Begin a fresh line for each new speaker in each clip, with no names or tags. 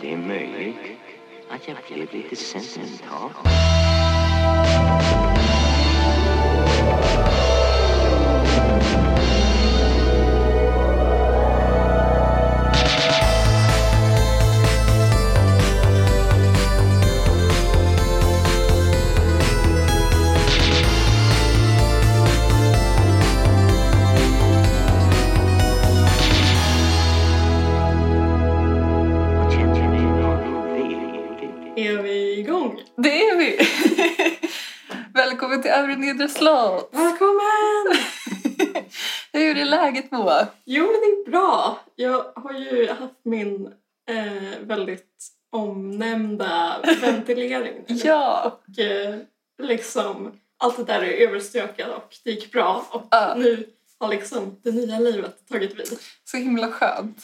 Det är möjligt att jag blev lite sentimental. Och känner mig väldigt-
Är vi igång?
Det är vi! Välkommen till Övre Nedre Slott!
Välkommen!
Hur är läget Moa?
Jo, men det är bra. Jag har ju haft min eh, väldigt omnämnda ventilering. nu.
Ja!
Och eh, liksom allt det där är överstökat och det gick bra. Och
Ja.
nu har liksom det nya livet tagit vid.
Så himla skönt.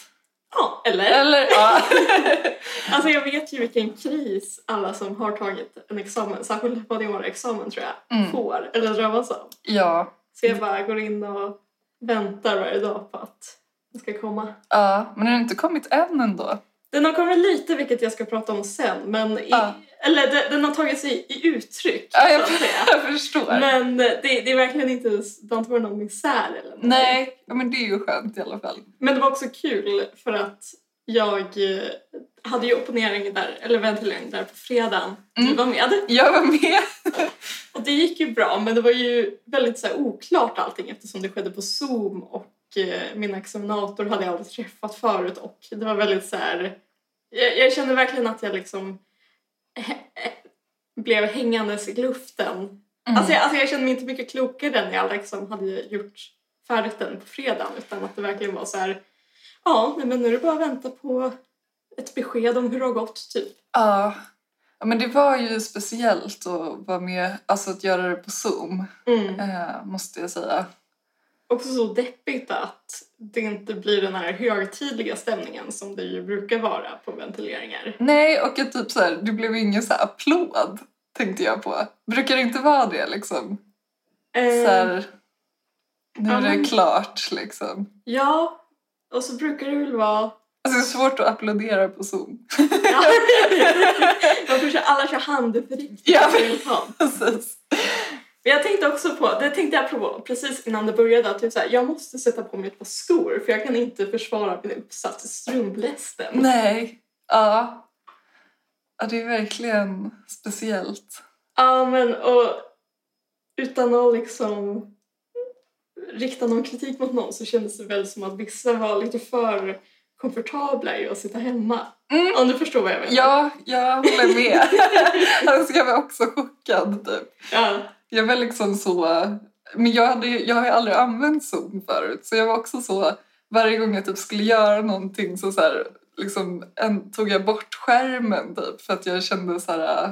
Ja, eller?
Eller? Ja.
Alltså jag vet ju vilken kris alla som har tagit en examen, särskilt på din examen tror jag,
Mm.
får eller drabbas av.
ja.
Så jag bara går in och väntar varje dag på att den ska komma.
ja. Men den har inte kommit än ändå.
Den har kommit lite, vilket jag ska prata om sen, men i,
Ja.
eller den, den har tagit sig i uttryck.
Ja, jag,
så att säga.
jag förstår.
Men det, det är verkligen inte, det har inte varit någon misär eller någonting.
Nej, ja, men det är ju skönt i alla fall.
Men det var också kul för att jag eh, hade ju opponering där, eller ventilering där på fredagen. Du
Mm.
var med.
Jag var med.
Och det gick ju bra, men det var ju väldigt så här, oklart allting eftersom det skedde på Zoom och eh, min examinator hade jag aldrig träffat förut och det var väldigt så här... Jag, jag kände verkligen att jag liksom eh, blev hängandes i luften.
Mm.
Alltså, jag, alltså jag kände mig inte mycket klokare än när jag liksom hade gjort färdigt den på fredagen utan att det verkligen var så här... Ja, nej, men nu är det bara att vänta på ett besked om hur det har gått, typ.
ja. ja, men det var ju speciellt att vara med, alltså att göra det på Zoom,
Mm.
eh, måste jag säga.
också så deppigt att det inte blir den här högtidliga stämningen som det ju brukar vara på ventileringar.
Nej, och att typ så här, det blev ingen så här applåd, tänkte jag på. Brukar det inte vara det liksom? Så
Ehm,
här, nu
Eh. ja,
är det
men-
klart liksom.
Ja, och så brukar det väl vara...
Alltså det är svårt att applådera på Zoom.
Ja. Varför kör alla kör handuppräckning?
Ja.
Men
Precis.
jag tänkte också på, det tänkte jag på precis innan det började, att typ så här, jag måste sätta på mig ett par skor för jag kan inte försvara min uppsats i strumplästen.
Nej. Ja. Ja, det är verkligen speciellt.
Ja, men och utan att liksom rikta någon kritik mot någon så kändes det väl som att vissa var lite för komfortabla i att sitta hemma.
Mm.
Om du förstår vad jag menar.
Ja, jag håller med. alltså, jag var också chockad typ.
Ja.
Jag var liksom så... Men jag, hade, ju- jag har ju aldrig använt Zoom förut, så jag var också så... Varje gång jag typ skulle göra någonting så, så här, liksom, en, tog jag bort skärmen typ, för att jag kände så här... äh,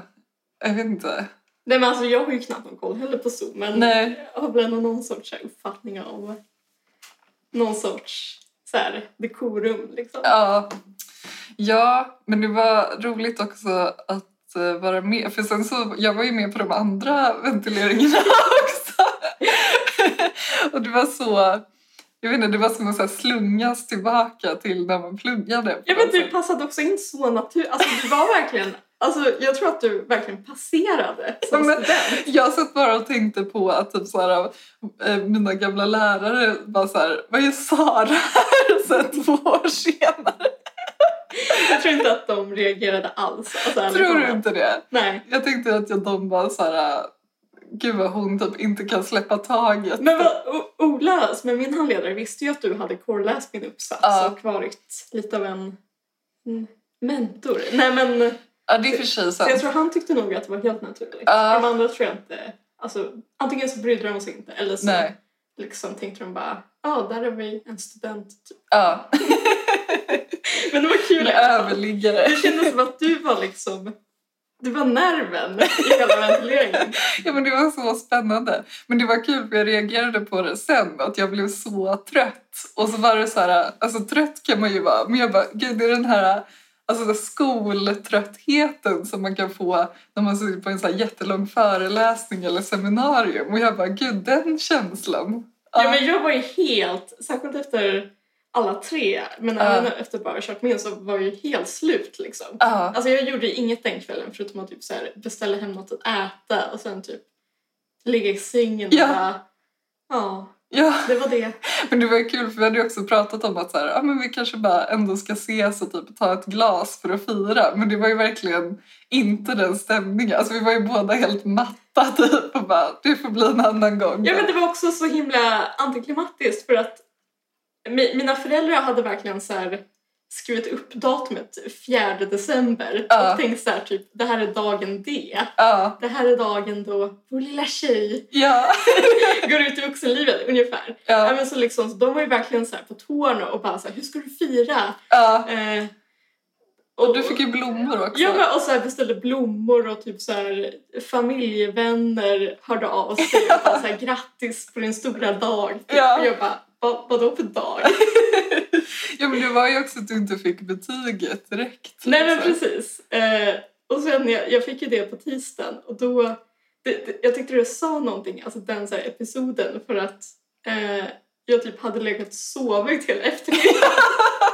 Jag vet inte.
Nej men alltså jag har ju knappt någon koll heller på Zoom men
Nej.
jag har väl ändå någon sorts så här uppfattning om någon sorts så här, dekorum liksom.
Ja. ja, men det var roligt också att eh, vara med. För sen så, jag var ju med på de andra ventileringarna också. Och det var så... Jag vet inte, det var som att så här slungas tillbaka till när man pluggade. på
Ja men
något
du
sätt.
passade också in så naturligt. Alltså du var verkligen, alltså jag tror att du verkligen passerade som
Ja, men-
student.
Jag satt bara och tänkte på att typ så här, eh, mina gamla lärare var så här, vad är Sara här sen två år senare?
Jag tror inte att de reagerade alls. Alltså, ärligt
Tror du
talat.
inte det?
Nej.
Jag tänkte att jag, de bara så här, gud vad hon typ inte kan släppa taget.
Men vad, O- Ola, som är min handledare, visste ju att du hade korreläst min uppsats
Ja.
och varit lite av en en mentor. Nej men,
ja, det är för sig
så jag
sant.
tror han tyckte nog att det var helt naturligt.
Ja.
De andra tror jag inte, alltså antingen så brydde de sig inte eller så
Nej,
liksom tänkte de bara ja, där är vi en student. typ.
ja.
Men det var kul
En
i alla fall.
överliggare.
Det kändes som att du var liksom, du var nerven i hela ventileringen.
Ja, men det var så spännande. Men det var kul för jag reagerade på det sen, att jag blev så trött. Och så var det så här, alltså trött kan man ju vara, men jag bara, gud det är den här alltså, den här skoltröttheten som man kan få när man sitter på en så här jättelång föreläsning eller seminarium. Och jag bara, gud den känslan.
Ja, men jag var ju helt, särskilt efter alla tre. Men
Ja.
även efter Bioshock min så var jag ju helt slut liksom.
Ja.
Alltså jag gjorde inget den kvällen förutom att typ så här beställa hem något att äta och sen typ ligga i sängen och
Ja.
bara... Ja,
ja.
det var det.
Men det var ju kul för vi hade ju också pratat om att så här, ah, men vi kanske bara ändå ska ses och typ ta ett glas för att fira. Men det var ju verkligen inte den stämningen. Alltså vi var ju båda helt matta typ och bara det får bli en annan gång.
Ja men det var också så himla antiklimatiskt för att mi- mina föräldrar hade verkligen så här skrivit upp datumet 4 december
Ja.
och tänkt så här typ det här är dagen D.
Ja,
Det här är dagen då vår lilla tjej
ja,
går ut i vuxenlivet ungefär. Ja.
ja,
men så liksom, så de var ju verkligen så här på tårna och bara så här, hur ska du fira?
ja.
Eh,
Och du fick ju blommor också.
Ja, men, och så här beställde blommor och typ så här, familjevänner hörde av sig och bara så här, grattis på din stora dag. Typ.
Ja.
Och jag bara, Va, vadå för dag?
ja, men det var ju också att du inte fick betyget direkt.
Nej men
liksom.
precis. Eh, och sen jag, jag fick ju det på tisdagen och då, det, det, jag tyckte det sa någonting, alltså den så här episoden för att eh, jag typ hade legat och sovit hela eftermiddagen.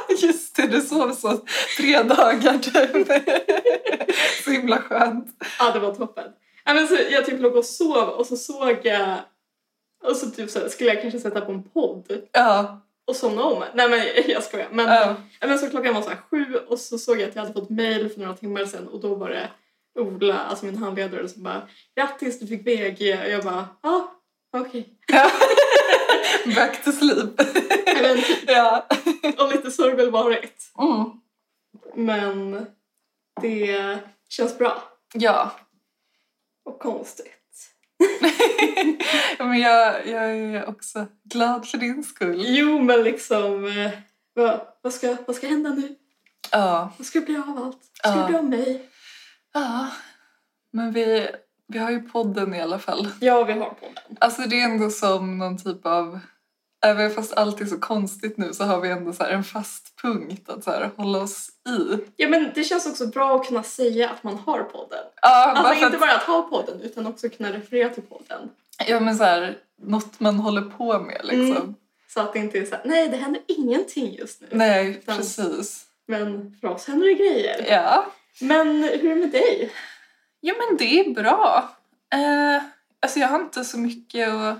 Just det, du sov så tre dagar typ. så himla skönt.
Ja, det var toppen. Ja, men så jag typ låg och sov och så såg jag... Och så typ så här, skulle jag kanske sätta på en podd
Ja,
och somna om. Nej men jag skojar. Men,
ja.
ja, men så klockan var så här sju och så såg jag att jag hade fått mail för några timmar sedan och då var det Ola, alltså min handledare, som bara “Grattis, du fick VG” och jag bara “Ja, okej”.
Back to sleep.
Ja, men typ,
ja.
Och lite så har det väl varit.
Mm.
Men det känns bra
Ja.
och konstigt.
Men jag, jag är också glad för din skull.
Jo, men liksom... eh, Vad, vad, ska, vad ska hända nu?
Ja.
Vad ska det bli av allt? Vad ska
Ja.
det bli av mig?
ja. Men vi, vi har ju podden i alla fall.
Ja, vi har på den.
Alltså det är ändå som någon typ av... Även fast allt är så konstigt nu så har vi ändå så här en fast punkt att så här hålla oss i.
Ja, men det känns också bra att kunna säga att man har podden.
Ja, bara
Alltså
för
inte bara att ha podden, utan också kunna referera till podden.
att, ja men så här, något man håller på med liksom.
Mm. Så att det inte är så här, nej det händer ingenting just nu.
Nej,
Dans.
precis.
Men för oss händer det grejer.
Ja.
Men hur är det med dig?
Jo men det är bra. Eh, alltså jag har inte så mycket att,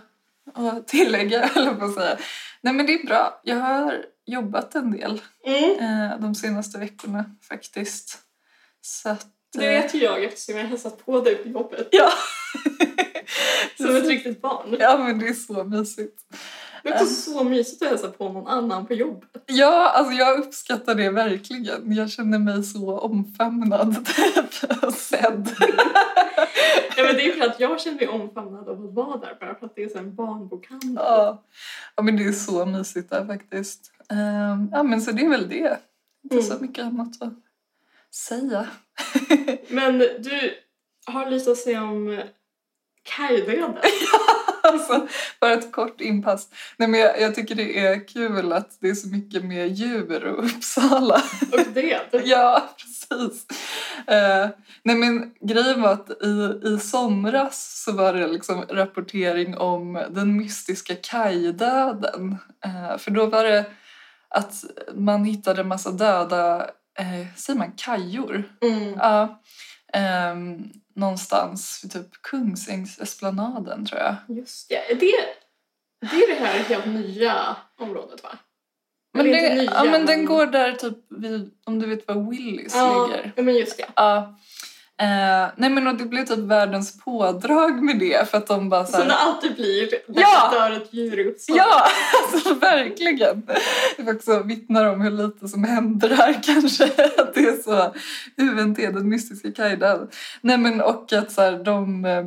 att tillägga eller på att säga. Nej men det är bra. Jag har jobbat en del
Mm.
eh, de senaste veckorna faktiskt. Så att...
Det
eh,
vet ju jag eftersom jag har hälsat på dig på jobbet
Ja.
som ett riktigt barn.
Mm. ja men det är så mysigt.
Det är också så mysigt att hälsa på någon annan på jobbet.
Ja, alltså jag uppskattar det verkligen. Jag känner mig så omfamnad typ, och sedd.
Ja, men det är för att jag känner mig omfamnad av att vara där bara för att det är så en barnbokhandel.
Ja. ja men det är så mysigt där faktiskt. Eh, ja men så det är väl det. Inte
Mm.
så mycket annat att säga.
Men du har lite att säga om eh, Kaj-döden.
Alltså, bara ett kort inpass. Nej, men jag, jag tycker det är kul att det är så mycket mer djur och Uppsala.
och död.
ja, precis. Eh, nej, men grejen var att i, i somras så var det liksom rapportering om den mystiska kajdöden. Eh, för då var det att man hittade en massa döda, eh, säger man kajor?
Mm.
Ja. Ehm, någonstans vid typ Kungsängsesplanaden tror jag.
Just det. det. Det är det här helt nya området va?
Men,
Eller inte
det,
nya,
ja, men den
men-
går där typ vid, om du vet var Willys ligger.
ja, men just det.
Ja. Eh, nej men och det blev typ världens pådrag med det för att de bara så
Som det
här,
alltid blir när
Alltså. Ja!
det dör ett djur i Uppsala.
Ja, alltså verkligen. Det också vittnar om hur lite som händer här kanske. Att det är så UNT, den mystiska kajdan. Nej men och att så här, de eh,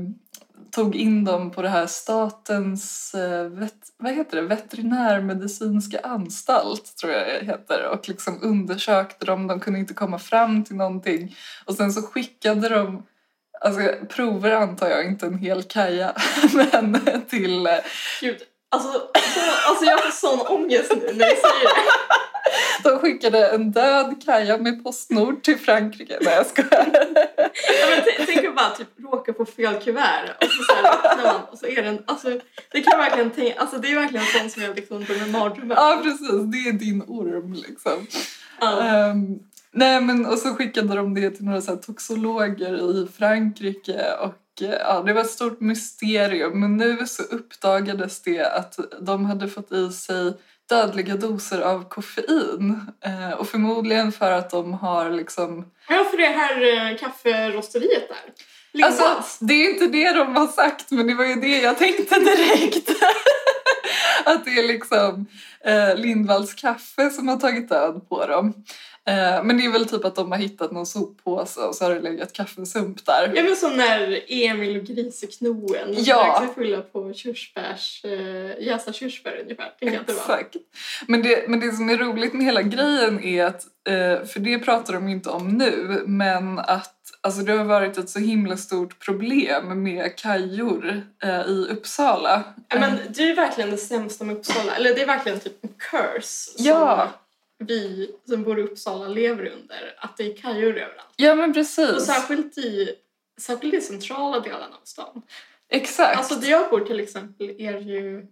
tog in dem på det här statens eh, vet, vad heter det? veterinärmedicinska anstalt tror jag det heter och liksom undersökte dem. De kunde inte komma fram till någonting och sen så skickade de Alltså prover antar jag, inte en hel kaja, men till eh,
Gud, Alltså, alltså jag får sån ångest nu när jag säger det.
De skickade en död Kaja med Postnord till Frankrike. Nej, jag skojar.
Ja, men t- tänk att bara typ råka på fel kuvert och så, så här öppnar man och så är den, alltså det kan jag verkligen tänka, alltså det är verkligen sånt som jag liksom drömmer mardrömmar.
Ja, precis. Det är din orm liksom.
Ja.
Ehm, nej, men och så skickade de det till några så här, toxologer i Frankrike och eh, ja, det var ett stort mysterium. Men nu så uppdagades det att de hade fått i sig dödliga doser av koffein Eh, och förmodligen för att de har liksom
Ja, för det här eh, kafferosteriet där. Lindans.
Alltså, det är inte det de har sagt, men det var ju det jag tänkte direkt. att det är liksom eh, Lindvalls kaffe som har tagit död på dem. Eh, men det är väl typ att de har hittat någon soppåse och så har det legat kaffesump där.
Ja men som när Emil och Griseknoen
Ja.
drack sig fulla på körsbärs, eh, jästa körsbär ungefär. Det kan inte vara.
Exakt. Men det, men det som är roligt med hela grejen är att, eh, för det pratar de ju inte om nu, men att alltså det har varit ett så himla stort problem med kajor eh, i Uppsala. Eh,
Ja, men du är verkligen det sämsta med Uppsala, eller det är verkligen typ en curse
Ja.
som vi som bor i Uppsala lever under, att det är kajor överallt.
ja, men precis.
Och särskilt i, särskilt i centrala delarna av stan.
Exakt.
Alltså där jag bor till exempel är det ju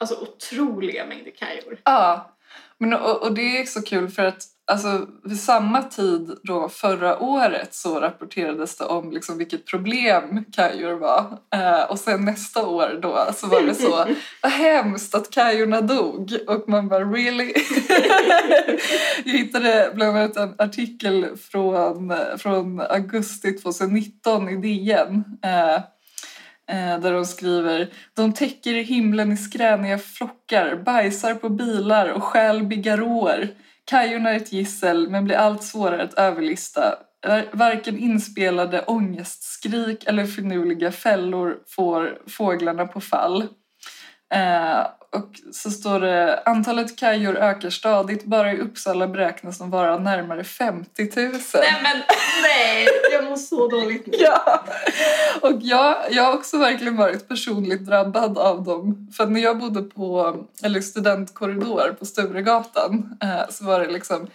alltså, otroliga mängder kajor.
Ja, men, och, och det är så kul för att alltså, vid samma tid då förra året så rapporterades det om liksom, vilket problem kajor var. Eh, och sen nästa år då så var det så, vad hemskt att kajorna dog. Och man bara really? Jag hittade bland annat en artikel från, eh, från augusti 2019 i DN. Eh, Eh, där de skriver De täcker himlen i skräniga flockar, bajsar på bilar och stjäl bigarråer. Kajorna är ett gissel men blir allt svårare att överlista. Ver- Varken inspelade ångestskrik eller finurliga fällor får fåglarna på fall. Eh, och så står det antalet kajor ökar stadigt. Bara i Uppsala beräknas de vara närmare 50 000.
Nej men nej, jag mår så dåligt nu.
Ja, och jag, jag har också verkligen varit personligt drabbad av dem. För att när jag bodde på eller studentkorridor på Sturegatan eh, så var det liksom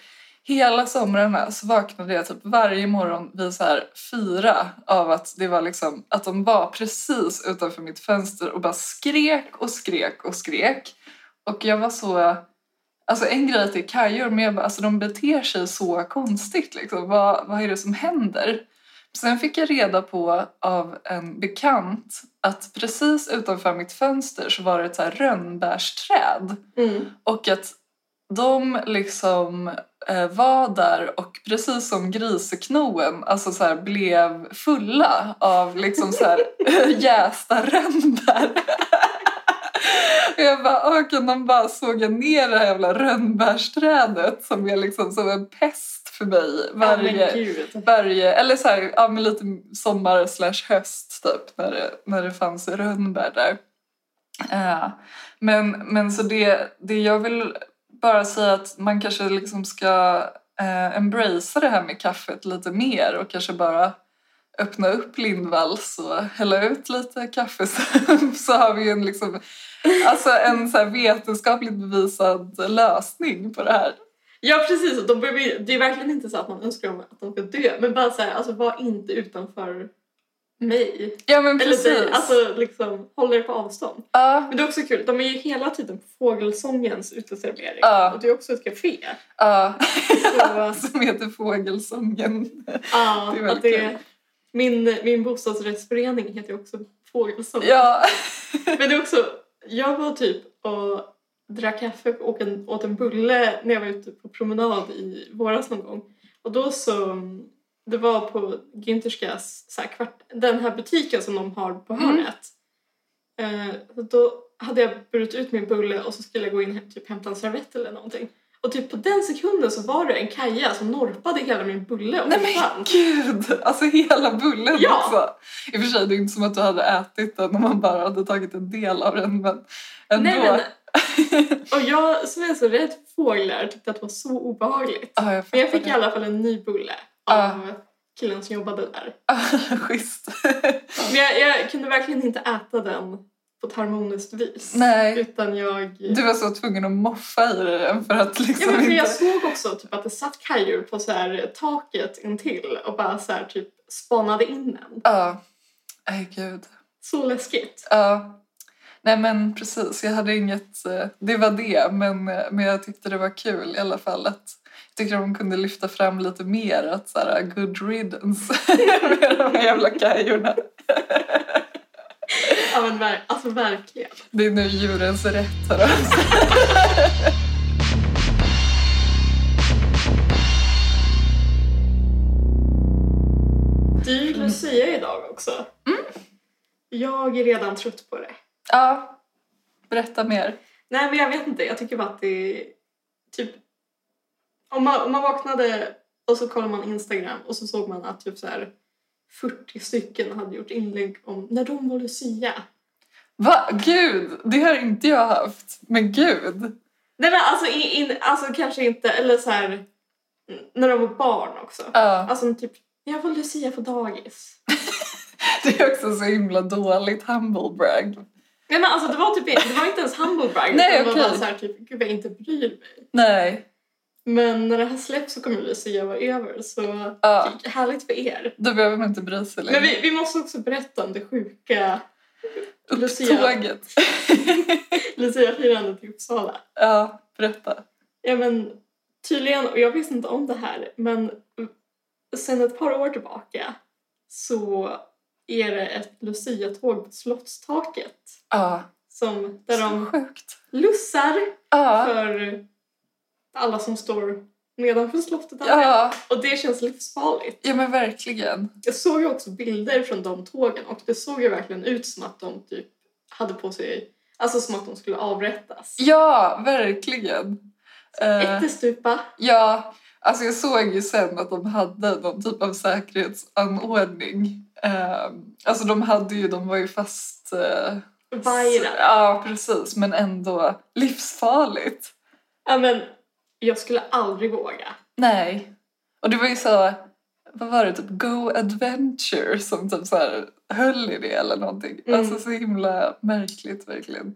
hela somrarna så vaknade jag typ varje morgon vid så här fyra av att det var liksom att de var precis utanför mitt fönster och bara skrek och skrek och skrek. Och jag var så... Alltså en grej är att det är kajor, men jag bara, alltså de beter sig så konstigt. Liksom. Vad, vad är det som händer? Sen fick jag reda på av en bekant att precis utanför mitt fönster så var det ett så här rönnbärsträd.
Mm.
Och att de liksom eh, var där och precis som griseknoen alltså så här, blev fulla av liksom så här, jästa rönnbär. Och jag bara, åh, kan de bara såga ner det här jävla rönnbärsträdet som är liksom som en pest för mig varje,
Ja, men gud.
varje, eller så här, ja, men lite sommar slash höst typ när det, när det fanns rönnbär där. Eh, men, men så det, det jag vill bara säga att man kanske liksom ska uh, embracea det här med kaffet lite mer och kanske bara öppna upp Lindvalls och hälla ut lite kaffe så, så har vi ju en, liksom, alltså en så här vetenskapligt bevisad lösning på det här.
Ja precis, och de behöver, ju- det är verkligen inte så att man önskar dem att de ska dö. Men bara såhär, alltså var inte utanför mig.
Ja men precis.
Eller dig. Alltså liksom, håll er på avstånd.
Ja.
Men det är också kul, de är ju hela tiden på Fågelsångens uteservering.
Ja.
Och det är också ett café.
Ja.
Så,
som heter Fågelsången.
ja,
Det är väldigt
att det, min, min bostadsrättsförening heter ju också Fågelsången.
Ja,
Men det är också, jag var typ och drack kaffe och en, åt en bulle när jag var ute på promenad i våras någon gång. Och då så, det var på Günterskas, så här, kvart, den här butiken som de har på
Mm.
hörnet. Eh, och då hade jag burit ut min bulle och så skulle jag gå in och typ hämta en servett eller någonting. Och typ på den sekunden så var det en kaja som norpade hela min bulle och
nej men
försvann.
gud! Alltså hela bullen
Ja.
också. I och för sig, det är inte som att du hade ätit den om man bara hade tagit en del av den. Men ändå.
Nej, men, och jag som är så rädd för fåglar tyckte att det var så obehagligt.
Ja, jag
Men jag fick i
fattar
alla fall en ny bulle
Ja.
av killen som jobbade där.
det. Schysst.
Men jag, jag kunde verkligen inte äta den på ett harmoniskt vis.
Nej,
Utan jag...
du var så tvungen att moffa i den för att
Ja,
liksom
men för
inte...
jag såg också typ att det satt kajor på så här, taket intill och bara så här, typ spanade in en.
Ja, nej gud.
Så läskigt.
Ja. Nej men precis, jag hade inget, eh, det var det, men, eh, men jag tyckte det var kul i alla fall att jag tyckte de kunde lyfta fram lite mer att så här, good riddance med de här jävla kajorna.
Ja, men ver- alltså verkligen.
Det är nu djurens rätt hörru.
Det är
Mm.
ju Lucia idag också. Jag är redan trött på det.
Ja, berätta mer.
Nej, men jag vet inte. Jag tycker bara att det är typ... Om man, om man vaknade och så kollade man Instagram och så såg man att typ så här 40 stycken hade gjort inlägg om när de var Lucia.
Va? Gud, det har inte jag haft. Men gud.
Nej men alltså, in, in, alltså kanske inte, eller så här mm, när de var barn också.
Ja,
Alltså typ, jag var Lucia på dagis.
det är också så himla dåligt humble brag.
Nej men alltså det var typ det var inte ens humble brag.
Nej,
utan Det
okej.
var bara så här typ, gud vad jag inte bryr mig.
Nej,
Men när det här släpps så kommer Lucia vara över så
ja,
härligt för er.
då behöver man inte bry sig
Men vi, vi måste också berätta om det sjuka Lucia.
Upptåget.
Lucia-firandet i Uppsala.
ja, berätta.
Ja men tydligen, och jag visste inte om det här, men sen ett par år tillbaka så är det ett Lucia-tåg på Slottstaket
Ja,
som, där
så
de
sjukt.
lussar
Ja,
för alla som står nedanför slottet.
ja,
Och det känns livsfarligt.
ja men verkligen.
Jag såg ju också bilder från de tågen och det såg ju verkligen ut som att de typ hade på sig, alltså som att de skulle avrättas.
Ja, verkligen. Eh,
Ättestupa.
Ja, alltså jag såg ju sen att de hade någon typ av säkerhetsanordning. Eh, alltså de hade ju, de var ju fast... Eh,
Vajra.
Ja, precis. Men ändå livsfarligt.
Ja, men jag skulle aldrig våga.
Nej. Och det var ju så, vad var det, typ Go Adventure som typ så här höll i det eller någonting.
Mm.
Alltså så himla märkligt verkligen.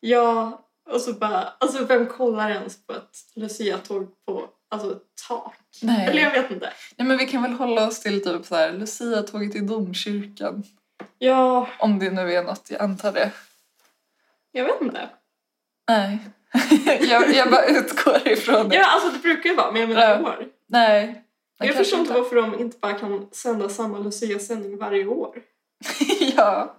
Ja, och så bara, alltså vem kollar ens på ett Lucia-tåg på alltså, ett tak?
Nej.
Eller jag vet inte.
Nej men vi kan väl hålla oss till typ så här Lucia-tåget i domkyrkan.
Ja,
Om det nu är något, jag antar det.
jag vet inte.
Nej. jag, jag bara utgår ifrån det.
Ja, alltså det brukar ju vara, men jag menar i
Ja.
år.
Nej. Nej,
Jag
kanske
förstår inte varför de inte bara kan sända samma Lucia-sändning varje år.
ja.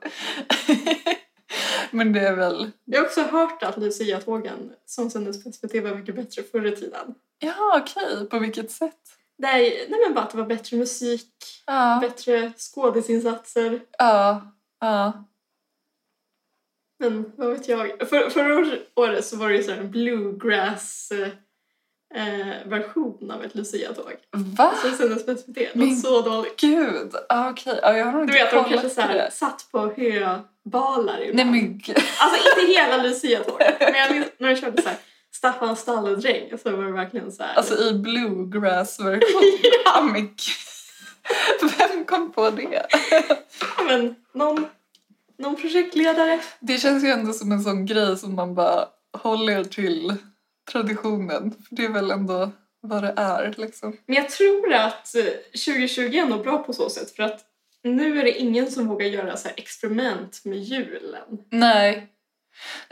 men det är väl...
Jag har också hört att Lucia-tågen som sändes på SVT var mycket bättre förr i tiden.
Ja, okej. På vilket sätt?
Nej, nej men bara att det var bättre musik,
Ja.
bättre skådisinsatser.
Ja. Ja.
Men vad vet jag. För, förra året så var det ju så här en bluegrass-version av ett Lucia-tåg.
Va?
Som sändes på SVT. Det var
Men-
så dåligt.
Gud, ah, okej. Ja, jag har nog
Du
inte
vet, de
kollat
kanske
på
så här
det.
satt på höbalar ibland.
Nej men gud.
Alltså inte hela Lucia-tåget. Men jag minns när de körde så här Staffan Stalledräng så var det verkligen så här.
Alltså i bluegrass-version. ja. men gud. Vem kom på det?
ja, men någon, någon projektledare.
Det känns ju ändå som en sån grej som man bara håller till traditionen. För det är väl ändå vad det är liksom.
Men jag tror att eh, 2020 är nog bra på så sätt för att nu är det ingen som vågar göra så här experiment med julen.
Nej.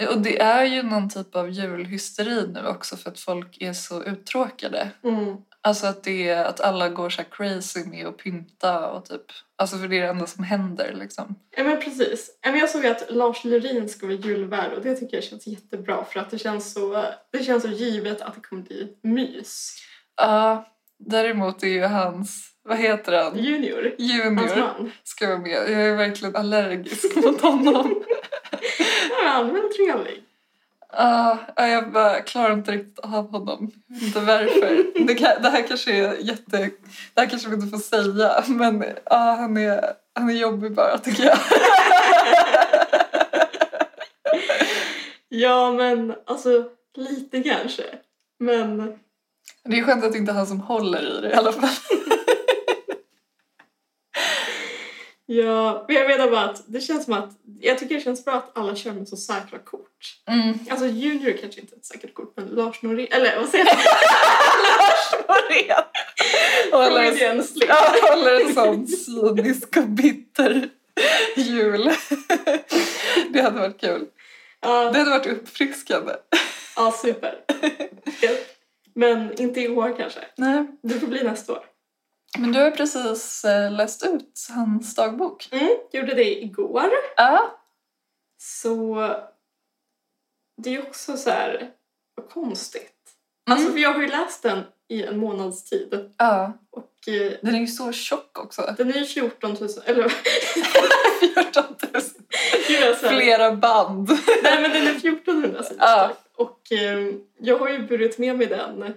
Och det är ju någon typ av julhysteri nu också för att folk är så uttråkade.
Mm.
Alltså att, det är, att alla går så här crazy med att pynta och typ... Alltså för det är det enda som händer liksom.
Ja men precis. Ja, men Jag såg att Lars Lerin ska vara julvärd och det tycker jag känns jättebra för att det känns så, det känns så givet att det kommer bli mys.
Ja, däremot är ju hans, vad heter han,
Junior, hans
junior
man.
ska vara med. Jag är verkligen allergisk mot honom.
Ja, men han är väl trevlig.
Ja, ja, jag bara klarar inte riktigt av honom. Jag vet Inte varför. Det, kan, det här kanske är jätte... Det här kanske vi inte får säga, men ja, han, är, han är jobbig bara tycker jag.
Ja men alltså lite kanske. Men
Det är skönt att det inte är han som håller i det i alla fall.
Ja, men jag menar bara att det känns som att jag tycker det känns bra att alla kör med så säkra kort.
Mm.
Alltså Junior kanske inte är ett säkert kort men Lars Norén, eller vad säger jag?
Håller,
Freudian slip.
ja, håller en sån cynisk och bitter jul. Det hade varit kul. Det
Ja,
hade varit uppfriskande.
ja, super. Ja. Men inte i år kanske.
Nej,
Det får bli nästa år.
men du har precis eh, läst ut hans dagbok.
Mm, gjorde det igår.
Ja,
Så det är ju också så här, vad konstigt. Alltså
alltså,
för jag har ju läst den i en månads tid
ja.
och eh,
Den är ju så tjock också.
den är ju 14 000, eller
14 000.
gud alltså.
Flera band.
Nej men den är 1400 sidor
Ja.
stark. Och eh, jag har ju burit med mig den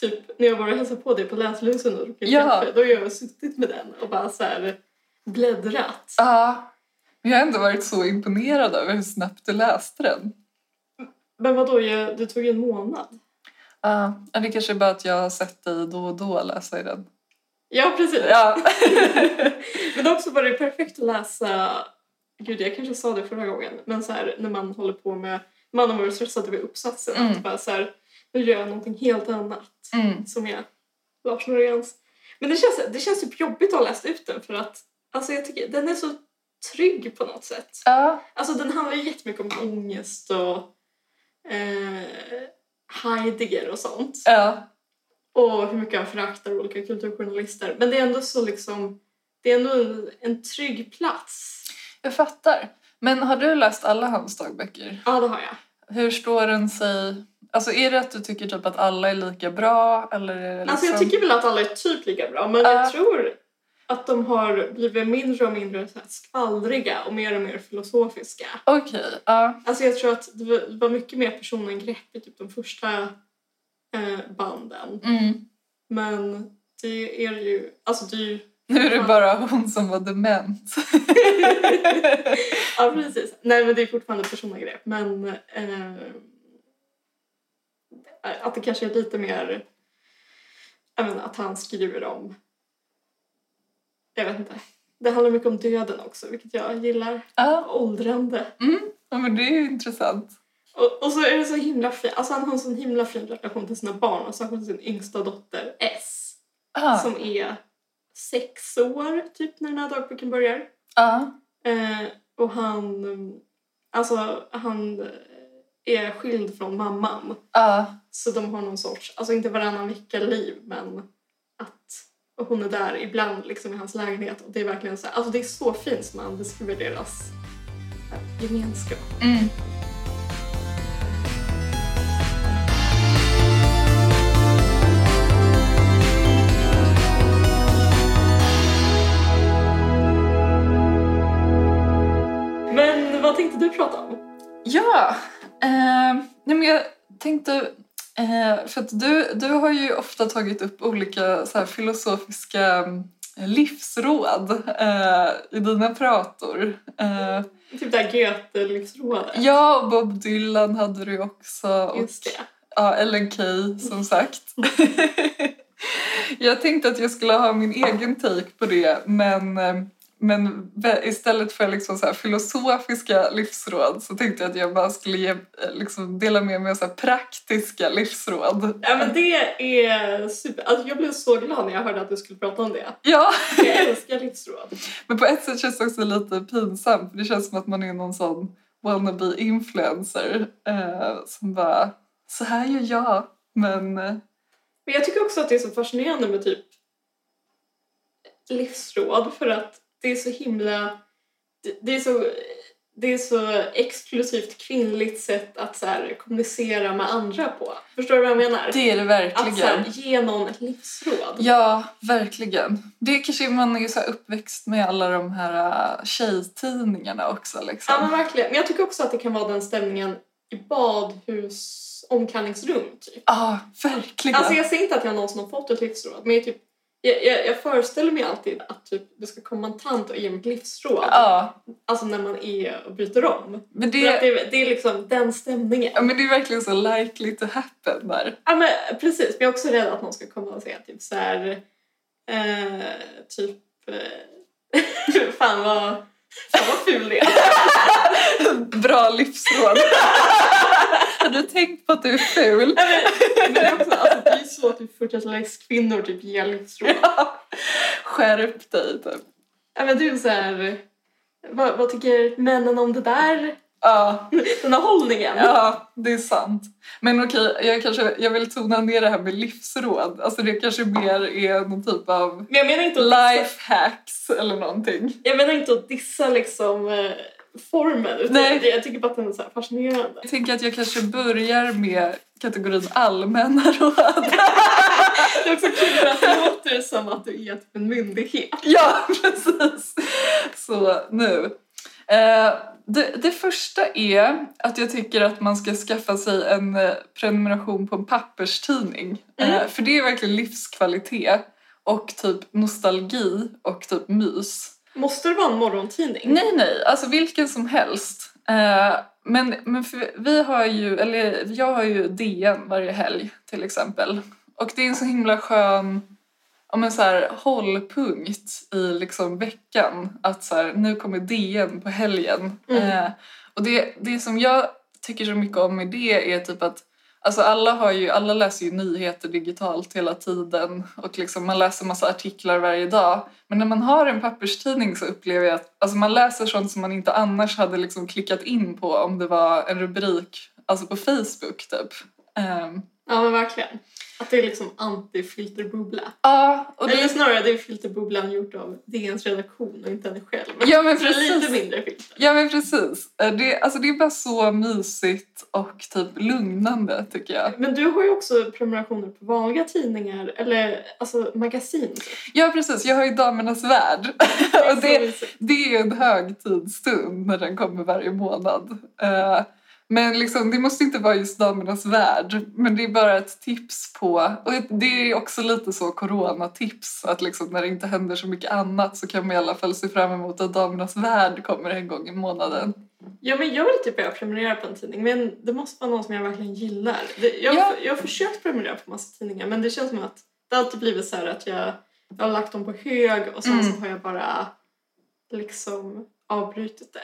typ när jag var och hälsade på dig på Läslusen och druckit
Ja.
kaffe. Då har jag suttit med den och bara så här bläddrat.
Ja. Men jag har ändå varit så imponerad över hur snabbt du läste den.
Men vadå, jag, det tog ju en månad.
Ja, det kanske är bara att jag har sett dig då och då läsa i den.
Ja precis.
Ja.
Men också var det perfekt att läsa, gud jag kanske sa det förra gången, men så här när man håller på med, man har varit stressad över uppsatsen,
Mm.
att bara så här, nu gör jag någonting helt annat
Mm.
som är Lars Noréns. Men det känns, det känns typ jobbigt att ha läst ut den för att alltså jag tycker den är så trygg på något sätt.
Ja.
Alltså den handlar ju jättemycket om ångest och eh, Heidegger och sånt
Ja.
och hur mycket han föraktar olika kulturjournalister. Men det är ändå så liksom, det är ändå en, en trygg plats.
Jag fattar. Men har du läst alla hans dagböcker?
Ja, det har jag.
Hur står den sig? Alltså är det att du tycker typ att alla är lika bra? Eller är det liksom...
Alltså jag tycker väl att alla är typ lika bra, men
Ja.
jag tror att de har blivit mindre och mindre så här skvallriga och mer och mer filosofiska.
Okej, ja.
Alltså jag tror att det var- det var mycket mer personangrepp i typ de första eh, banden.
Mm.
Men det är ju, alltså det är ju
Nu är det bara hon som var dement.
Ja, precis. Nej, men det är fortfarande personangrepp. Men eh, att det kanske är lite mer... Jag menar, att han skriver om... Jag vet inte. Det handlar mycket om döden också, vilket jag gillar.
ja.
Åldrande.
ja, men det är ju intressant.
Och, och så är det så himla fint. Alltså han har en sån himla fin relation till sina barn och särskilt till sin yngsta dotter S.
Ja.
Som är sex år typ när den här dagboken börjar.
Ja.
Eh, och han, mm, alltså, han eh, är skild från mamman.
Ja.
Så de har någon sorts, alltså inte varannan vecka-liv men att och hon är där ibland liksom i hans lägenhet. Och det är verkligen så här, alltså det är så fint som han beskriver deras eh, gemenskap.
Mm.
Men vad tänkte du prata om?
Ja, eh, nej men jag tänkte... Eh, för att du, du har ju ofta tagit upp olika så här, filosofiska mm, livsråd eh, i dina prator. Eh,
Typ det här Goethe-livsrådet.
ja, och Bob Dylan hade du ju också. Och,
Just det.
ja, Ellen Key, som sagt. jag tänkte att jag skulle ha min egen take på det, men... eh, Men vä- istället för liksom så här filosofiska livsråd så tänkte jag att jag bara skulle ge, eh, liksom dela med mig av så här praktiska livsråd.
Ja men det är super, alltså jag blev så glad när jag hörde att du skulle prata om det.
Ja,
Jag älskar livsråd.
men på ett sätt känns det också lite pinsamt för det känns som att man är någon sån wannabe influencer eh, som bara så här gör jag, men eh,
Men jag tycker också att det är så fascinerande med typ livsråd för att det är så himla... Det, det, är, så, det är så exklusivt kvinnligt sätt att så här, kommunicera med andra på. Förstår du vad jag menar?
det är det
att så här,
verkligen.
ge någon ett livsråd.
Ja, verkligen. Det är kanske man är så här uppväxt med alla de här eh, tjejtidningarna också. Liksom.
Ja, men verkligen. Men jag tycker också att det kan vara den stämningen i badhus omkallningsrum typ.
Ja, verkligen.
Alltså jag säger inte att jag någonsin har fått ett livsråd men jag, typ, jag, jag, jag föreställer mig alltid att typ, det ska komma en tant och ge mig ett livsråd.
Ja,
Alltså när man är och byter om.
men
Det, för att
det,
det, det är liksom den stämningen.
ja, men det är verkligen så likely to happen där.
Ja men precis, men jag är också rädd att någon ska komma och säga typ så här, eh, typ eh, Fan vad, fan vad ful det är.
Bra livsråd. Har du tänkt på att du är ful?
Men det är också, alltså, det är så typ 40-talets kvinnor typ ger livsråd.
Skärp dig typ.
Ja, men du så här, vad, vad tycker männen om det där?
Ja,
Den här hållningen.
ja, det är sant. Men okej, jag, kanske, jag vill tona ner det här med livsråd. Alltså det kanske mer är någon typ av
Men jag menar inte att dissa,
life hacks eller någonting.
jag menar inte att dissa liksom eh, formen. Utan
Nej.
Jag, jag tycker bara att den är så här fascinerande.
Jag tänker att jag kanske börjar med kategorin allmänna råd.
Det är också kul för att det låter som att du är typ en myndighet.
Ja, precis. Så nu. Eh, det, det första är att jag tycker att man ska skaffa sig en eh, prenumeration på en papperstidning. Eh, för det är verkligen livskvalitet och typ nostalgi och typ mys.
Måste det vara en morgontidning?
Nej, nej, alltså vilken som helst. Eh, men men för vi har ju, eller jag har ju DN varje helg till exempel. Och det är en så himla skön ja, men så här, hållpunkt i liksom veckan. Att så här, nu kommer DN på helgen.
Mm.
Eh, och det, det som jag tycker så mycket om med det är typ att Alltså alla, har ju, alla läser ju nyheter digitalt hela tiden och liksom man läser massa artiklar varje dag. Men när man har en papperstidning så upplever jag att alltså man läser sånt som man inte annars hade liksom klickat in på om det var en rubrik alltså på Facebook. Typ. Ehm,
Ja men verkligen. Att det är liksom anti-filterbubbla.
Ja, och
Eller
det,
snarare det är filterbubblan gjort av DNs redaktion och inte henne själv.
ja, men
Så det är
precis.
lite mindre filter.
Ja men precis. Eh, Det, alltså det är bara så mysigt och typ lugnande tycker jag.
Men du har ju också prenumerationer på vanliga tidningar eller alltså magasin. typ.
Ja precis, jag har ju Damernas Värld.
Det är Liksom,
och
så
det,
mysigt.
det är en högtidsstund när den kommer varje månad. Eh, Men liksom, det måste inte vara just Damernas Värld. Men det är bara ett tips på... Och ett- det är också lite så coronatips. Att liksom, när det inte händer så mycket annat så kan man i alla fall se fram emot att Damernas Värld kommer en gång i månaden.
Ja, men jag vill typ börja prenumerera på en tidning men det måste vara någon som jag verkligen gillar. Det, jag,
Ja.
jag har försökt prenumerera på massa tidningar men det känns som att det har alltid blivit så här att jag, jag har lagt dem på hög och sen
Mm.
så har jag bara liksom avbrutit det.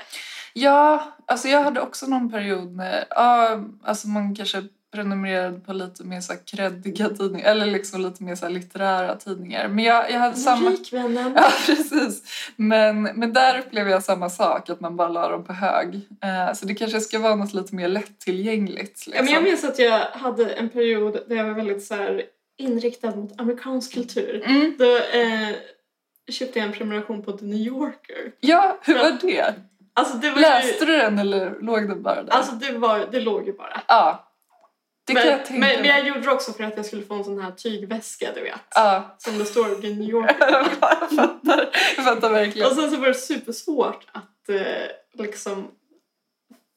Ja, alltså jag hade också någon period när ja, alltså man kanske prenumererade på lite mer så här kreddiga tidningar eller liksom lite mer så här litterära tidningar. Men jag, jag hade samma...
Rikvännen.
Ja, precis. Men, men där upplever jag samma sak, att man bara la dem på hög. Eh, så det kanske ska vara något lite mer lättillgängligt.
Ja,
Liksom.
men jag minns att jag hade en period där jag var väldigt så här inriktad mot amerikansk kultur.
mm.
Då eh, köpte jag en prenumeration på The New Yorker.
ja hur var det?
Alltså det var
Läste
ju,
du den eller låg den bara där?
alltså det, var, det låg ju bara.
ja, det kan
men,
jag tänka
men, men
mig.
jag gjorde det också för att jag skulle få en sån här tygväska, du vet.
Ja.
Som det står i New York.
jag, fattar, jag fattar verkligen.
Och sen så var det supersvårt att eh, liksom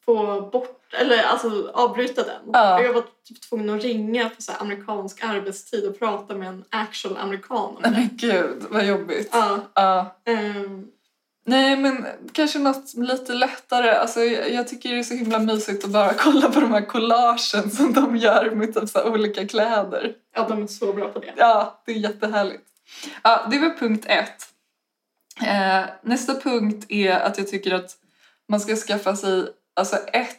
få bort, eller alltså avbryta den.
Ja.
Och Jag var typ tvungen att ringa på så här amerikansk arbetstid och prata med en actual amerikan om
Nej,
det.
men gud, vad jobbigt.
Ja,
Ja.
ehm,
Nej, men kanske något lite lättare. Alltså, jag, jag tycker det är så himla mysigt att bara kolla på de här collagen som de gör med typ så här olika kläder.
ja, de är så bra på det.
Ja, det är jättehärligt. Ja, det var punkt ett. Eh, nästa punkt är att jag tycker att man ska skaffa sig alltså ett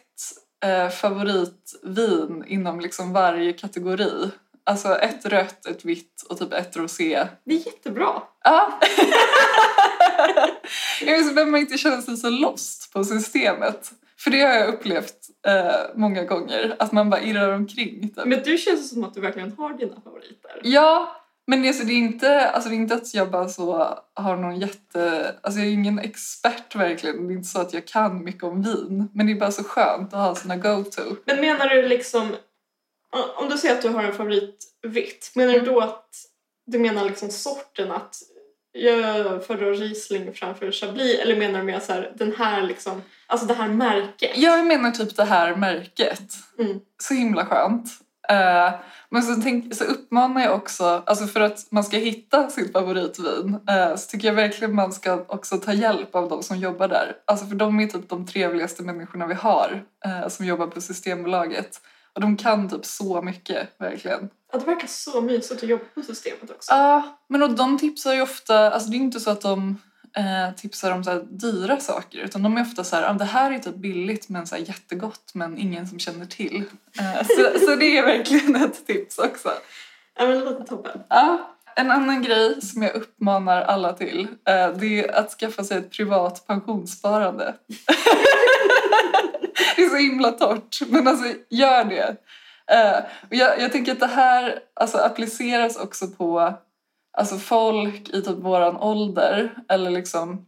eh, favoritvin inom liksom varje kategori. Alltså ett rött, ett vitt och typ ett rosé.
Det är jättebra.
Ja. jag vet, så behöver man inte känna sig så lost på systemet. För det har jag upplevt eh, många gånger, att man bara irrar omkring. Typ.
Men du känns som att du verkligen har dina favoriter.
Ja, men alltså, det, är inte, alltså, det är inte att jag bara så har någon jätte... Alltså jag är ingen expert verkligen, det är inte så att jag kan mycket om vin. Men det är bara så skönt att ha sina go-to.
Men menar du liksom, om du säger att du har en favoritvitt, menar du då att du menar liksom sorten att jag föredrar Riesling framför Chablis eller menar du mer så här, den här liksom, alltså det här märket?
Jag menar typ det här märket.
Mm.
Så himla skönt. Eh, men så, tänk, så uppmanar jag också, alltså för att man ska hitta sitt favoritvin eh, så tycker jag verkligen man ska också ta hjälp av de som jobbar där. Alltså för de är typ de trevligaste människorna vi har eh, som jobbar på Systembolaget. Och de kan typ så mycket, verkligen.
Ja, det verkar så mysigt att jobba på systemet också.
Ja, men och de tipsar ju ofta, alltså det är inte så att de eh, tipsar om så här dyra saker utan de är ofta så här, ah, det här är typ billigt men så här jättegott men ingen som känner till. Eh, så, så det är verkligen ett tips också.
Ja, men det låter toppen.
Ja. En annan grej som jag uppmanar alla till eh, det är att skaffa sig ett privat pensionssparande. det är så himla torrt, men alltså gör det. Eh, och jag, jag tänker att det här alltså, appliceras också på alltså, folk i typ våran ålder eller liksom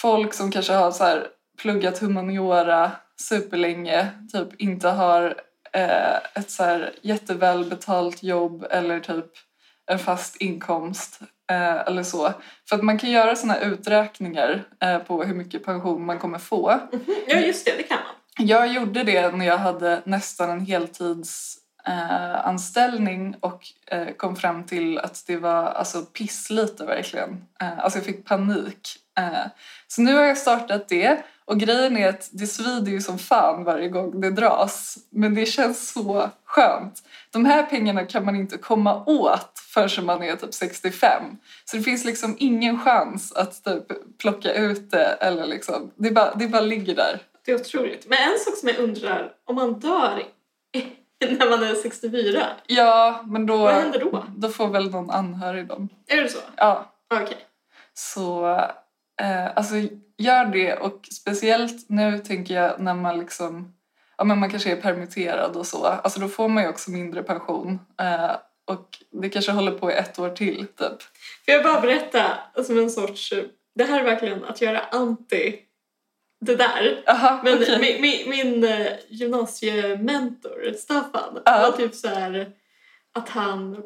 folk som kanske har så här, pluggat humaniora superlänge, typ inte har eh, ett så här, jättevälbetalt jobb eller typ en fast inkomst eh, eller så. För att man kan göra sådana uträkningar eh, på hur mycket pension man kommer få.
Ja, just det, det kan man.
Jag gjorde det när jag hade nästan en heltidsanställning eh, anställning och eh, kom fram till att det var alltså, pisslite verkligen. Eh, alltså jag fick panik. Eh, så nu har jag startat det och grejen är att det svider ju som fan varje gång det dras. Men det känns så skönt. De här pengarna kan man inte komma åt förrän man är typ 65. Så det finns liksom ingen chans att typ plocka ut det. Eller liksom, det, bara, det bara ligger där.
Det är otroligt. Men en sak som jag undrar, om man dör när man är 64,
Ja, men då,
vad händer då?
då får väl någon anhörig dem.
Är det så?
Ja,
Okej.
så eh, alltså gör det och speciellt nu tänker jag när man liksom ja, men man kanske är permitterad och så. Alltså då får man ju också mindre pension eh, och det kanske håller på i ett år till typ.
Får jag bara berätta som en sorts... Det här är verkligen att göra anti det där.
Aha,
Men
okej.
min, min, min eh, gymnasiementor, Staffan,
Ja.
var typ så här att han...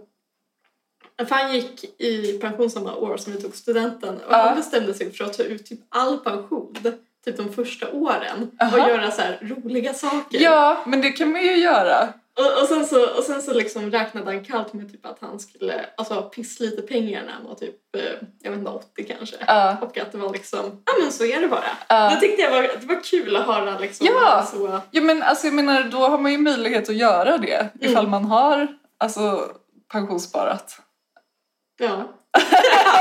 För han gick i pension samma år som vi tog studenten och
Ja.
han bestämde sig för att ta ut typ all pension typ de första åren och
Aha.
göra så här roliga saker.
Ja, men det kan man ju göra.
Och, och sen så, och sen så liksom räknade han kallt med typ att han skulle alltså, pissa lite pengar när han var typ eh, jag vet inte, 80 kanske.
Ja,
Och att det var liksom, ja men så är det bara.
ja.
Det tyckte jag var, det var kul att höra liksom.
Ja.
Så,
Ja, men alltså, jag menar, då har man ju möjlighet att göra det
Mm.
ifall man har alltså, pensionssparat.
ja.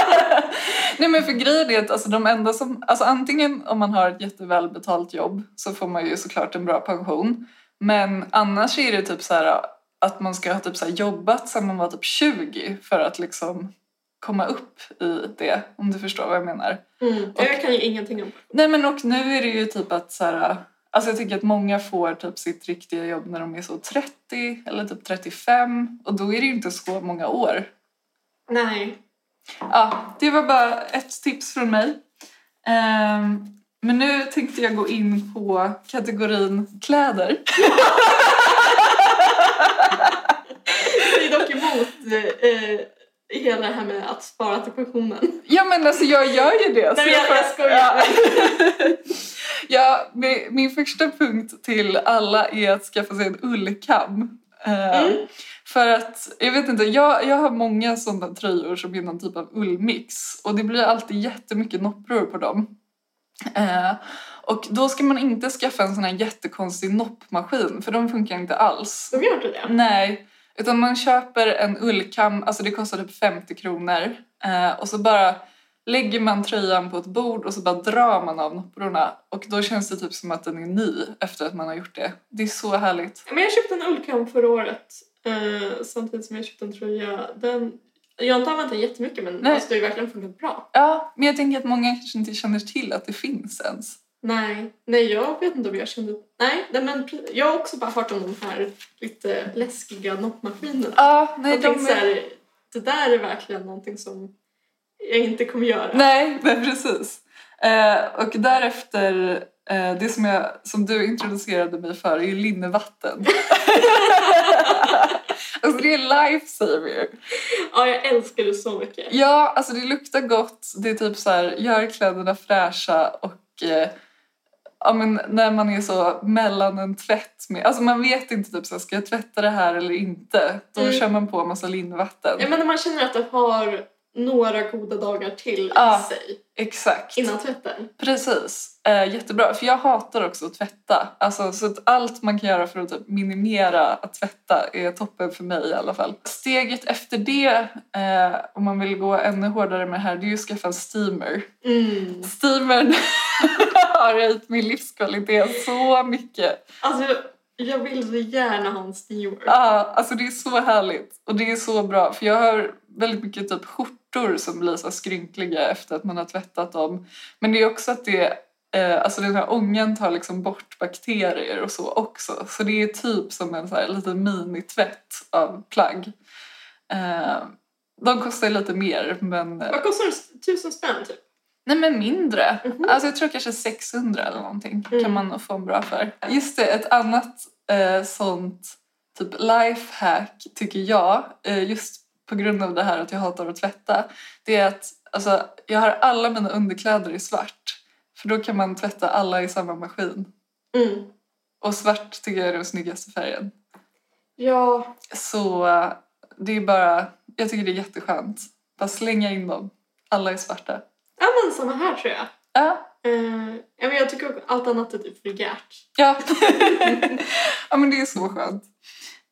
Nej men för grejen är att alltså, de enda som, alltså antingen om man har ett jättevälbetalt jobb så får man ju såklart en bra pension. Men annars är det typ så här att man ska ha typ så här jobbat sedan man var typ 20 för att liksom komma upp i det, om du förstår vad jag menar.
Mm.
Och-
Jag kan ju ingenting om
Nej men och nu är det ju typ att så här, alltså jag tycker att många får typ sitt riktiga jobb när de är så 30 eller typ 35 och då är det ju inte så många år.
Nej.
Ja, det var bara ett tips från mig. Ehm, men nu tänkte jag gå in på kategorin kläder.
Jag är dock emot eh, hela det här med att spara till pensionen.
Ja men alltså jag gör ju det.
Nej, jag-
får-
jag skojar.
Ja. ja, mi- min första punkt till alla är att skaffa sig en ullkam. Ehm,
Mm.
För att, jag vet inte, jag, jag har många sådana tröjor som är någon typ av ullmix och det blir alltid jättemycket noppror på dem. Eh, och då ska man inte skaffa en sån här jättekonstig noppmaskin för de funkar inte alls.
De gör inte
Mm.
det.
Nej, utan man köper en ullkam, alltså det kostar typ 50 kronor eh, och så bara lägger man tröjan på ett bord och så bara drar man av nopprorna och då känns det typ som att den är ny efter att man har gjort det. Det är så härligt.
Men jag köpte en ullkam förra året eh, samtidigt som jag köpte en tröja. Den, jag har inte använt den jättemycket men
Nej.
alltså, det har ju verkligen funkat bra.
Ja, men jag tänker att många kanske inte känner till att det finns ens.
Nej, nej jag vet inte om jag kände... Nej, nej men pre- jag har också bara hört om de här lite läskiga noppmaskinerna.
Ja, nej,
jag
de
tänkte så
är...
här, det där är verkligen någonting som jag inte kommer göra.
Nej, men precis. Eh, och därefter, eh, det som, jag, som du introducerade mig för är ju linnevatten. alltså det är lifesaver.
Ja, jag älskar det så mycket.
Ja, alltså det luktar gott, det är typ så här, gör kläderna fräscha och eh, Ja, men när man är så mellan en tvätt med... Alltså man vet inte typ så här, ska jag tvätta det här eller inte. Då
Mm.
kör man på en massa linnevatten.
Ja, men när man känner att det har några goda dagar till
Ja.
i sig
Exakt.
innan tvätten.
Precis. Eh, jättebra. För jag hatar också att tvätta. Alltså, så att allt man kan göra för att typ minimera att tvätta är toppen för mig i alla fall. Steget efter det, eh, om man vill gå ännu hårdare med det här, det är ju att skaffa en steamer.
Mm.
Steamern har höjt min livskvalitet så mycket.
Alltså, jag vill så gärna ha en steamer.
Ah, alltså det är så härligt och det är så bra för jag har väldigt mycket typ skjortor som blir så här skrynkliga efter att man har tvättat dem. Men det är också att det, eh, alltså den här ångan tar liksom bort bakterier och så också. Så det är typ som en så här liten minitvätt av plagg. Eh, de kostar ju lite mer men, eh,
Vad kostar det? Tusen spänn typ?
nej men mindre.
Mhm.
Alltså jag tror kanske 600 eller någonting
Mm.
kan man nog få en bra för. Just det, ett annat eh, sånt typ lifehack tycker jag, eh, just på grund av det här att jag hatar att tvätta, det är att alltså, jag har alla mina underkläder i svart. För då kan man tvätta alla i samma maskin.
Mm.
Och svart tycker jag är den snyggaste färgen.
Ja,
Så eh, det är bara, jag tycker det är jätteskönt. Bara slänga in dem. Alla är svarta.
ja men samma här tror jag.
Ja,
Eh, ja, men jag tycker också allt annat är typ vulgärt.
Ja. ja, men det är så skönt.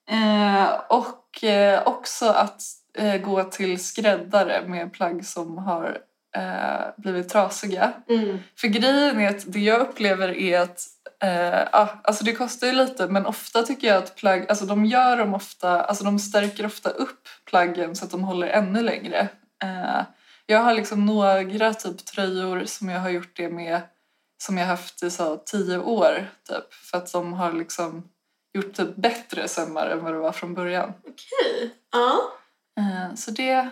Eh, och eh, också att eh, gå till skräddare med plagg som har eh, blivit trasiga.
Mm.
För grejen är att det jag upplever är att eh, ah, alltså det kostar ju lite men ofta tycker jag att plagg, alltså de gör dem ofta, alltså de stärker ofta upp plaggen så att de håller ännu längre. Eh, jag har liksom några typ tröjor som jag har gjort det med som jag haft i så tio år typ för att de har liksom gjort typ bättre sömmar än vad det var från början.
Okej. Ja.
Eh, så det...
Ja,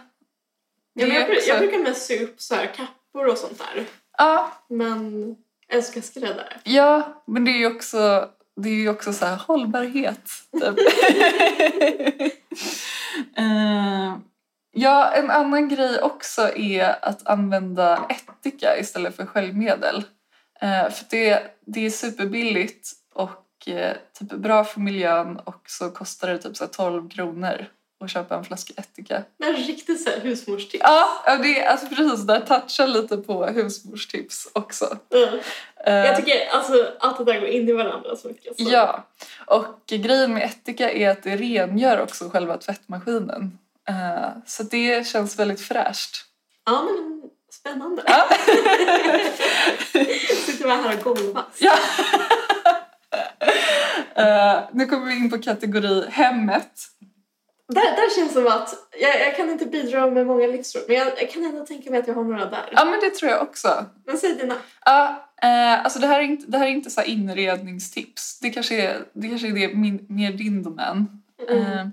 men jag, bru-
också-
jag brukar mest sy upp så här kappor och sånt där.
Ja,
Men älskar skräddare.
Ja, men det är ju också, det är ju också så här hållbarhet. Typ. Eh, ja, en annan grej också är att använda ättika istället för sköljmedel. Eh, för det, det är superbilligt och eh, typ bra för miljön och så kostar det typ så här 12 kronor att köpa en flaska ättika.
Men riktigt så här husmorstips.
Ja, ja, det är alltså precis där touchar lite på husmorstips också.
Mm.
Eh,
Jag tycker alltså, att det där går in i varandra så mycket. alltså. Så.
Ja, och grejen med ättika är att det rengör också själva tvättmaskinen. Eh, Så det känns väldigt fräscht.
ja, men spännande.
Ja.
Sitter bara här och golvas.
ja. Eh, nu kommer vi in på kategori hemmet.
Där, där känns det som att jag, jag kan inte bidra med många livsråd men jag, jag kan ändå tänka mig att jag har några där.
Ja, men det tror jag också.
Men säg dina.
Ja, eh, alltså det här är inte, det här är inte så här inredningstips. Det kanske är, det kanske är det min, mer din domän.
Mm.
Eh,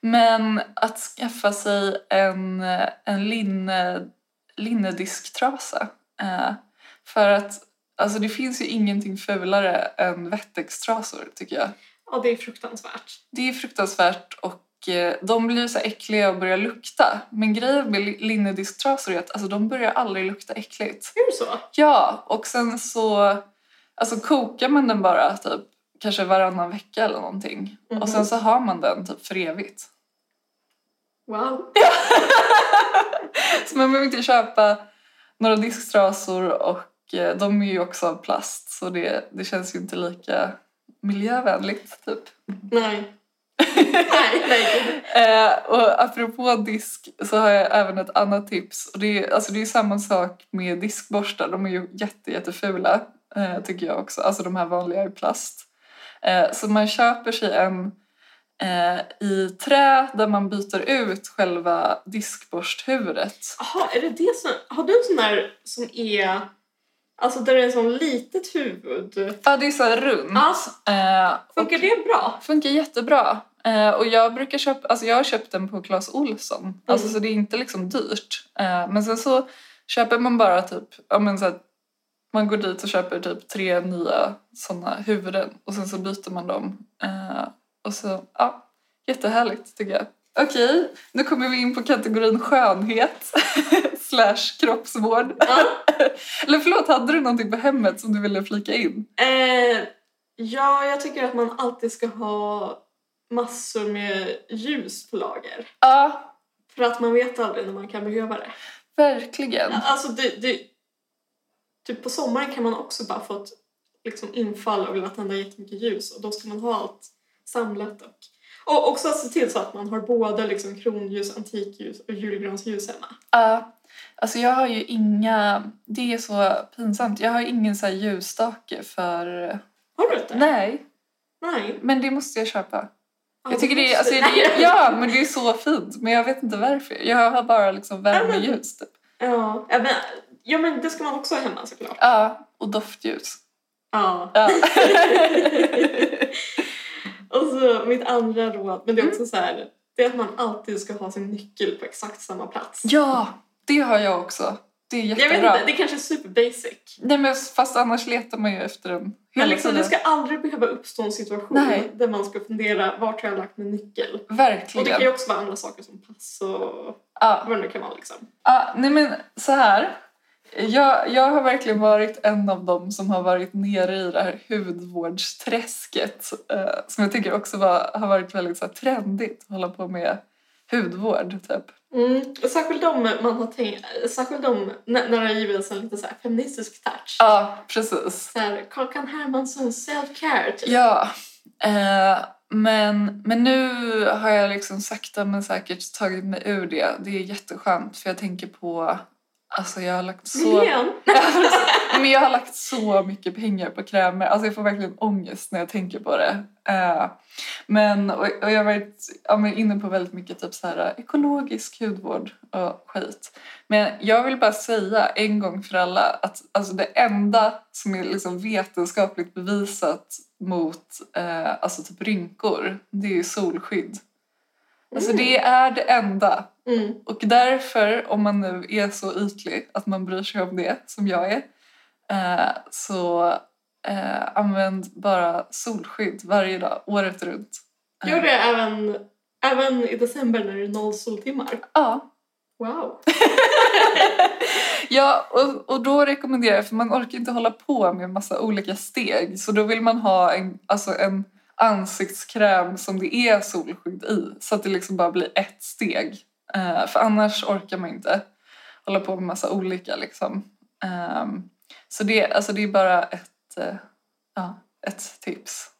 Men att skaffa sig en, eh, en linne, linnedisktrasa. Eh, För att alltså det finns ju ingenting fulare än wettextrasor tycker jag.
Ja, det är fruktansvärt.
Det är fruktansvärt och eh, de blir så här äckliga och börjar lukta. Men grejen med li- linnedisktrasor är att alltså, de börjar aldrig lukta äckligt.
Är det så?
Ja, och sen så alltså, kokar man den bara typ kanske varannan vecka eller någonting.
Mhm.
Och sen så har man den typ för evigt.
Mm. Wow.
Så man behöver inte köpa några disktrasor och eh, de är ju också av plast så det, det känns ju inte lika miljövänligt typ.
Nej. nej, nej. gud.
Eh, och apropå disk så har jag även ett annat tips. Och det, är, alltså det är samma sak med diskborstar. De är ju jätte, jättefula eh, tycker jag också. Alltså de här vanliga i plast. Eh, så man köper sig en eh, i trä där man byter ut själva diskborsthuvudet.
Jaha, är det det som... Har du en sån där som är... Alltså där det är en sån litet huvud?
Ja, det är så här runt.
Ja.
Eh, Mm. och
Funkar det bra?
funkar jättebra. Eh, och jag brukar köpa, alltså jag har köpt den på Clas Ohlson. Alltså så det är inte liksom dyrt. Eh, men sen så köper man bara typ, ja men så att man går dit och köper typ tre nya sådana huvuden och sen så byter man dem. Eh, och så, ja, jättehärligt tycker jag. Okej, nu kommer vi in på kategorin skönhet slash kroppsvård.
Ja.
Eller förlåt, hade du någonting på hemmet som du ville flika in?
Eh, ja, jag tycker att man alltid ska ha massor med ljus på lager.
Ja,
För att man vet aldrig när man kan behöva det.
Verkligen.
Alltså det, det, typ på sommaren kan man också bara få ett liksom, infall och vilja tända jättemycket ljus och då ska man ha allt samlat och, och också se till så att man har både liksom, kronljus, antikljus och julgransljus hemma.
Ja. Alltså jag har ju inga, det är så pinsamt, jag har ingen så här ljusstake för...
Har du inte?
Nej,
Nej.
men det måste jag köpa.
Ja,
Jag tycker det
måste-
är, alltså, det
Nej.
är, ja men det är så fint men jag vet inte varför. Jag har bara liksom värmeljus typ.
Ja, ja, men, ja, men det ska man också ha hemma såklart.
Ja, och doftljus.
Ja.
Ja.
och så mitt andra råd, men det är
Mm.
också så här, det är att man alltid ska ha sin nyckel på exakt samma plats.
ja, det har jag också. Det är
Jag vet
jättebra.
inte, det kanske är super basic.
Nej men fast annars letar man ju efter den hela
Men liksom, det
tiden.
ska aldrig behöva uppstå en situation
Nej.
där man ska fundera vart har jag lagt min nyckel? Och det
Verkligen.
kan ju också vara andra saker som pass och
Ja.
vad det nu kan vara liksom.
Ja, nej men så här. Jag, jag har verkligen varit en av dem som har varit nere i det här hudvårdsträsket eh, som jag tycker också var, har varit väldigt så här, trendigt att hålla på med hudvård. Typ.
Mm. och Särskilt om man har tänkt, särskilt om när, när det har givits en lite så här feministisk touch.
Ja, precis.
Så här, Kakan Hermansson self-care typ.
Ja, eh, men, men nu har jag liksom sakta men säkert tagit mig ur det. Det är jätteskönt för jag tänker på, alltså jag har lagt så
Miljön.
Men jag har lagt så mycket pengar på krämer. Alltså jag får verkligen ångest när jag tänker på det. Eh, men, och, och jag har varit ja, men inne på väldigt mycket typ så här, ekologisk hudvård och skit. Men jag vill bara säga en gång för alla att alltså det enda som är liksom vetenskapligt bevisat mot eh, alltså typ rynkor, det är ju solskydd. Alltså det är det enda.
Mm.
Och därför, om man nu är så ytlig att man bryr sig om det, som jag är, eh, så eh, använd bara solskydd varje dag, året runt. Eh,
Gör det även, även i december när det är noll soltimmar.
Ja.
Wow.
ja, och, och då rekommenderar jag, för man orkar inte hålla på med massa olika steg, så då vill man ha en, alltså en ansiktskräm som det är solskydd i, så att det liksom bara blir ett steg. Eh, för annars orkar man inte hålla på med massa olika liksom. Ehm, så det, alltså det är bara ett, eh, ja, ett tips.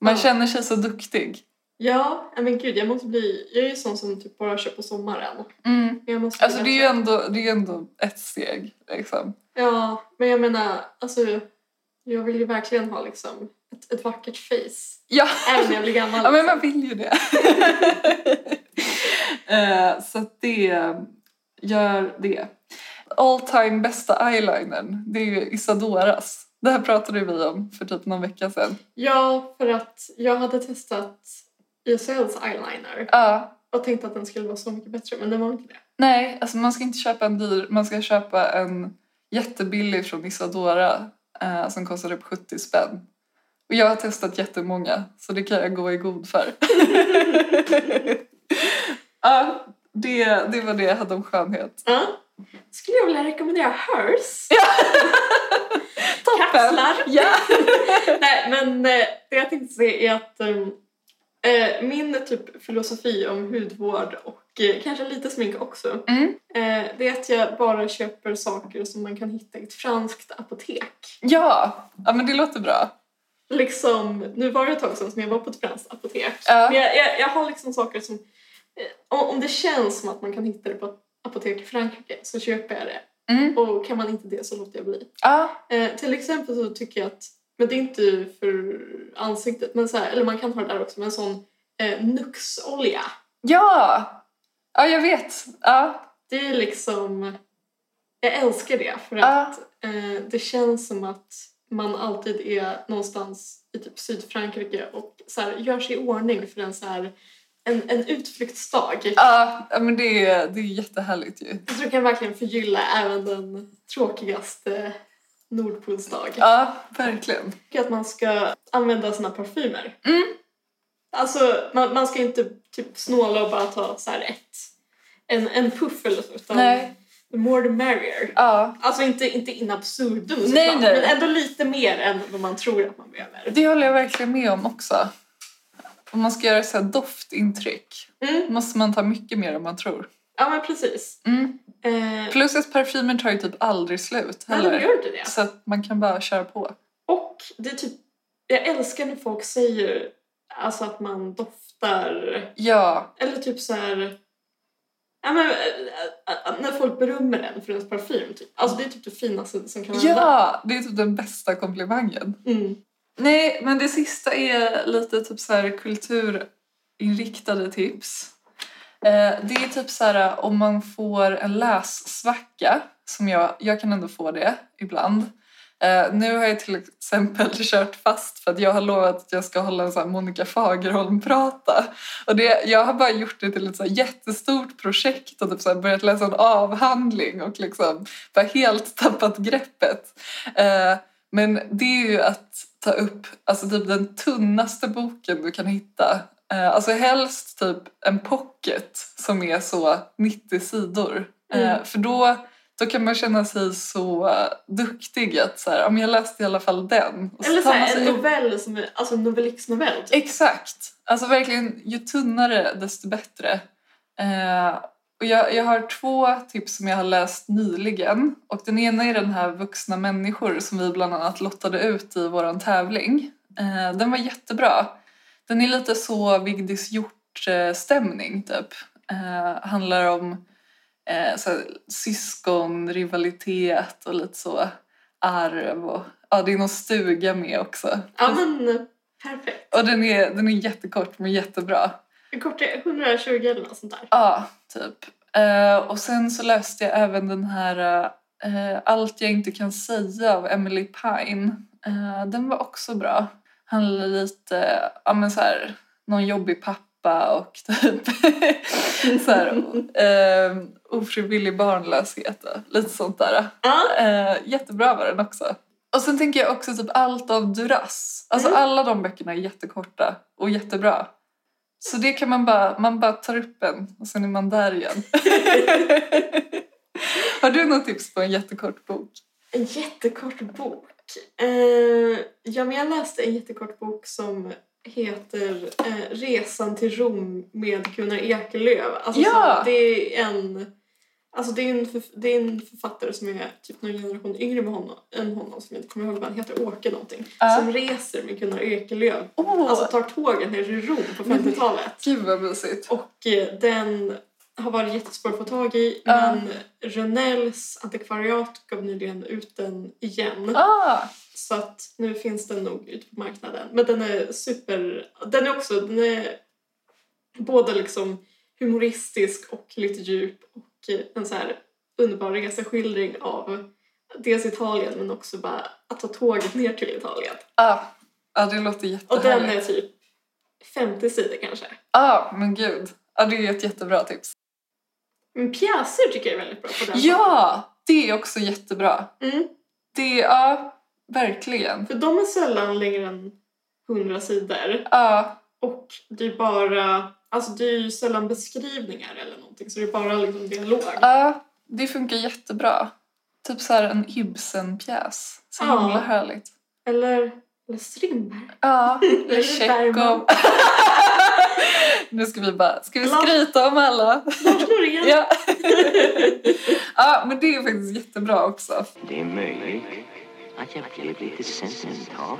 Man
Ja.
känner sig så duktig.
Ja, men gud jag måste bli, jag är ju sån som typ bara kör på sommaren.
Mm.
Men Jag måste
Alltså det är ju ändå, det är ju ändå ett steg. Liksom.
Ja, men jag menar, alltså jag vill ju verkligen ha liksom ett, ett vackert face.
Ja.
Även när jag blir gammal.
ja, men
liksom.
man vill ju det. Eh, så att det, gör det. All time bästa eyelinern, det är ju Isadoras. Det här pratade vi om för typ någon vecka sedan.
Ja, för att jag hade testat YSLs eyeliner
Ja,
och tänkte att den skulle vara så mycket bättre, men den var inte det.
Nej, alltså man ska inte köpa en dyr. Man ska köpa en jättebillig från Isadora eh, som kostar upp 70 spänn. Och jag har testat jättemånga, så det kan jag gå i god för. ja, det, det var det jag hade om skönhet.
Ja. Skulle jag vilja rekommendera Hers.
Toppen!
Kapslar.
Ja!
Nej, men eh, det jag tänkte säga är att ehm, eh, min typ filosofi om hudvård och eh, kanske lite smink också
Mm.
eh, det är att jag bara köper saker som man kan hitta i ett franskt apotek.
ja! Ja, men det låter bra.
Liksom, nu var det ett tag sedan som jag var på ett franskt apotek.
Ja.
Men jag, jag, jag har liksom saker som... eh, Om om det känns som att man kan hitta det på ett apotek i Frankrike så köper jag det.
Mm.
Och kan man inte det så låter jag bli.
Ja,
Eh, till exempel så tycker jag att, men det är inte för ansiktet, men så här, eller man kan ha det där också, men en sån eh, Nuxolja.
ja! Ja, jag vet. Ja,
Det är liksom, jag älskar det för
Ja.
att eh, det känns som att man alltid är någonstans i typ Sydfrankrike och så här, gör sig i ordning för en, så här, en, en utflyktsdag.
ja ja, men det är, det är jättehärligt ju.
Jag tror det kan verkligen förgylla även den tråkigaste Nordpolsdag.
Ja, verkligen.
tycker att man ska använda sina parfymer.
Mm.
Alltså man, man ska inte typ snåla och bara ta så här ett, en, en puff eller så utan
Nej.
the more the merrier.
Ja,
Alltså inte, inte in absurdum såklart,
Nej, nej.
men ändå lite mer än vad man tror att man behöver.
Det håller jag verkligen med om också. Om man ska göra så här doftintryck
Mm.
måste man ta mycket mer än man tror.
Ja men precis.
Mm.
Eh,
Plus att parfymen tar ju typ aldrig slut
nej, de
heller.
gör inte det.
Så att man kan bara köra på.
Och det är typ, jag älskar när folk säger alltså att man doftar
Ja,
Eller typ så här... Ja, men, äh, äh, äh, när folk berömmer en för ens parfym. Typ. Alltså, det är typ det finaste som kan hända.
ja, det är typ den bästa komplimangen.
Mm.
Nej, men det sista är lite typ så här kulturinriktade tips. Eh, Det är typ så här om man får en lässvacka, som jag, jag kan ändå få det ibland. Eh, Nu har jag till exempel kört fast för att jag har lovat att jag ska hålla en så här Monica Fagerholm-prata. Och det, jag har bara gjort det till ett så här jättestort projekt och typ så här börjat läsa en avhandling och liksom bara helt tappat greppet. Eh, men det är ju att ta upp alltså typ den tunnaste boken du kan hitta. Eh, Alltså helst typ en pocket som är så 90 sidor. Eh,
Mm.
För då, då kan man känna sig så eh, duktig att så här, "Ja, men jag läste i alla fall den. Och
Eller så
tar man
här,
sig
en
upp-
novell, som är, alltså en novellixnovell. Typ.
Exakt. Alltså verkligen, ju tunnare desto bättre. Eh, och jag, jag har två tips som jag har läst nyligen. Och den ena är den här Vuxna människor som vi bland annat lottade ut i vår tävling. Eh, den var jättebra. Den är lite så Vigdis Hjort-stämning typ. Eh, handlar om eh, så här, syskonrivalitet och lite så arv. Och, ja, det är någon stuga med också.
Ja men perfekt.
Och den är, den är jättekort men jättebra.
Hur kort är det? 120 eller något sånt där.
Ja, typ. Eh, och sen så läste jag även den här eh, Allt jag inte kan säga av Emily Pine. Eh, den var också bra. Handlar lite, ja men så här, någon jobbig pappa och typ så här, eh, ofrivillig barnlöshet och lite sånt där.
Ja,
Eh, jättebra var den också. Och sen tänker jag också typ allt av Duras. Alltså
Mm.
alla de böckerna är jättekorta och jättebra. Så det kan man bara, man bara tar upp en och sen är man där igen. Har du något tips på en jättekort bok?
en jättekort bok. Eh, ja men jag läste en jättekort bok som heter eh, Resan till Rom med Gunnar Ekelöf. Alltså,
Ja!
så, det är en... Alltså det är, en förf- det är en författare som är typ någon generation yngre med honom, än honom som jag inte kommer ihåg vad han heter, Åke någonting.
Ja.
Som reser med Gunnar Ekelöf.
Åh,
Alltså tar tågen ner till Rom på
Men-
50-talet.
gud vad mysigt.
Och eh, den har varit jättesvår att få tag i
Ja.
men Rönnells antikvariat gav nyligen ut den igen.
Ah,
Så att nu finns den nog ute på marknaden. Men den är super... Den är också... Den är både liksom humoristisk och lite djup och eh, en så här underbar reseskildring av dels Italien men också bara att ta tåget ner till Italien.
ah, ah, det låter
Och den
jättehärligt.
är typ 50 sidor kanske.
Ah, men gud. Ah, det är ett jättebra tips.
Men pjäser tycker jag är väldigt bra på den.
Ja, det är också jättebra.
Mm,
Det, ja, ah, verkligen.
för de är sällan längre än 100 sidor.
Ah,
Och det är bara... Alltså det är ju sällan beskrivningar eller någonting så det är bara liksom dialog.
Ja, det funkar jättebra. Typ så här en Ibsen-pjäs. Så
Ja.
himla härligt.
Eller, eller Strindberg.
Ja,
Eller
Tjechov.
Bergman.
nu ska vi bara ska vi
Lars-
skryta om alla.
Lars Norén.
Ja. ja, men det är faktiskt jättebra också.
Det är möjligt att jag blev lite sentimental.